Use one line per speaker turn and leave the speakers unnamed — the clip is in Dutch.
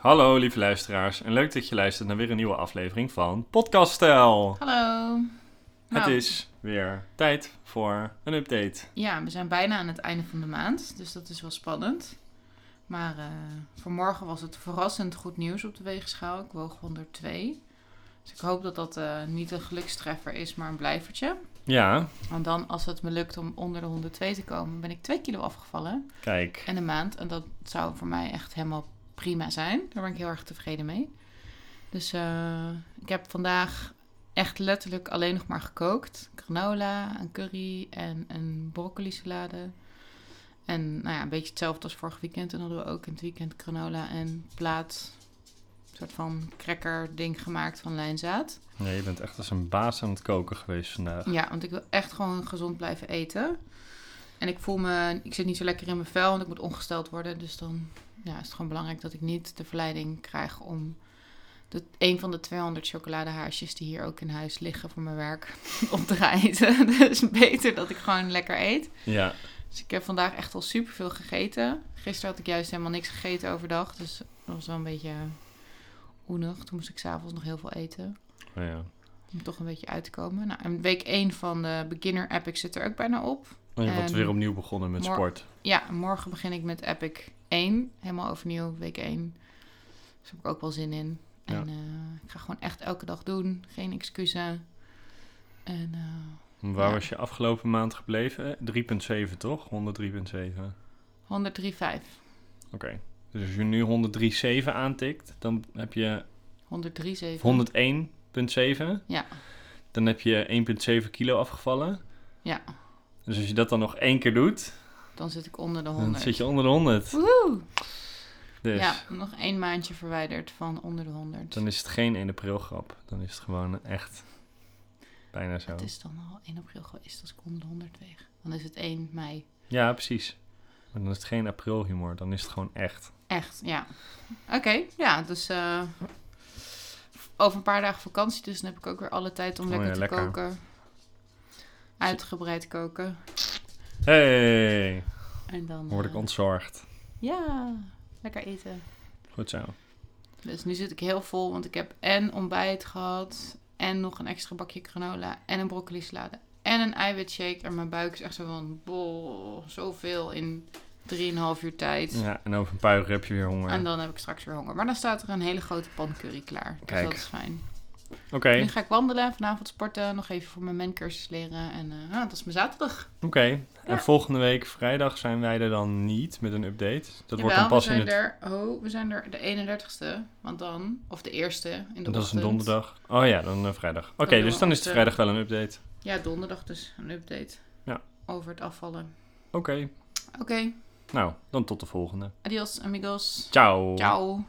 Hallo lieve luisteraars en leuk dat je luistert naar weer een nieuwe aflevering van Podcast Stijl.
Hallo.
Het
Nou,
is weer tijd voor een update.
Ja, we zijn bijna aan het einde van de maand, dus dat is wel spannend. Maar eh, vanmorgen was het verrassend goed nieuws op de weegschaal. Ik woog 102. Dus ik hoop dat dat eh, niet een gelukstreffer is, maar een blijvertje.
Ja,
Want dan, als het me lukt om onder de 102 te komen, ben ik 2 kilo afgevallen
kijk.
in een maand. En dat zou voor mij echt helemaal prima zijn. Daar ben ik heel erg tevreden mee. Dus eh, ik heb vandaag echt letterlijk alleen nog maar gekookt. Granola, een curry en een broccoli salade. En nou ja, een beetje hetzelfde als vorig weekend. En hadden we ook in het weekend granola en plaat. Een soort van cracker ding gemaakt van lijnzaad.
Nee, je bent echt als een baas aan het koken geweest vandaag.
Ja, want ik wil echt gewoon gezond blijven eten. En ik voel me, ik zit niet zo lekker in mijn vel, want ik moet ongesteld worden. Dus dan ja, is het gewoon belangrijk dat ik niet de verleiding krijg om de, een van de 200 chocoladehaasjes die hier ook in huis liggen voor mijn werk op te gaan eten. Dus beter dat ik gewoon lekker eet.
Ja,
Dus ik heb vandaag echt al superveel gegeten. Gisteren had ik juist helemaal niks gegeten overdag, dus dat was wel een beetje oenig. Toen moest ik s'avonds nog heel veel eten.
oh ja.
Om toch een beetje uit te komen. Nou, en week 1 van de Beginner Epic zit er ook bijna op.
Oh, je wordt
En
weer opnieuw begonnen met
Ehm, mor-
sport.
Ja, morgen begin ik met Epic 1. Helemaal overnieuw, week 1. Dus heb ik ook wel zin in.
Ja.
En eh, ik ga gewoon echt elke dag doen. Geen excuses. En eh,
Waar
Ja.
was je afgelopen maand gebleven? Eh, 3,7 toch? 103,7. Oké.
103,5.
Dus als je nu 103,7 aantikt, dan heb je
103,7.
101,7.
Ja.
Dan heb je 1,7 kilo afgevallen.
Ja,
Dus als je dat dan nog één keer doet,
dan zit ik onder de
dan
100.
zit je onder de 100.
Woehoe!
Dus
Ja, nog één maandje verwijderd van onder de 100.
dan is het geen 1 april grap. Dan is het gewoon echt bijna zo.
Het is dan al 1 april geweest als ik onder de 100 weeg. Dan is het 1 mei.
Ja, precies. Maar dan is het geen april humor. Dan is het gewoon echt.
Echt, ja. Oké, ja, dus eh, over een paar dagen vakantie, dus dan heb ik ook weer alle tijd om
Oh
lekker
ja,
te
lekker.
koken. Uitgebreid koken.
Hey,
En dan...
word
eh,
ik ontzorgd.
Ja, lekker eten.
Goed zo.
Dus nu zit ik heel vol, want ik heb en ontbijt gehad, en nog een extra bakje granola, en een broccoli salade, en een eiwitshake. En mijn buik is echt zo van, bol, zoveel in 3,5 uur tijd.
Ja, en over een paar uur heb je weer honger.
En
Oké,
dan heb ik straks weer honger. Maar dan staat er een hele grote pan curry klaar. Dus
Kijk.
dat is fijn. Nu ga ik wandelen, vanavond sporten, nog even voor mijn mencursus leren. En eh, ah, dat is mijn zaterdag.
oké. En volgende week vrijdag zijn wij er dan niet met een update. Dat wordt
Jawel,
dan pas
we
in
zijn
het...
er, oh, we zijn er de 31ste, want dan, of de eerste in de
Dat is een
ochtend.
donderdag. Oh ja, dan eh, vrijdag. Oké,
doen we
dus dan is
op
het
de-
vrijdag wel een update.
Ja, donderdag dus, een update
Ja.
over het afvallen.
Oké,
Oké,
nou, dan tot de volgende.
adios amigos.
Ciao.
Ciao.